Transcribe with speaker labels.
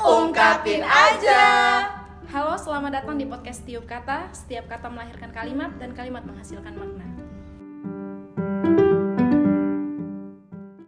Speaker 1: Siapin aja.
Speaker 2: Halo, selamat datang di podcast Tiup Kata. Setiap kata melahirkan kalimat dan kalimat menghasilkan makna.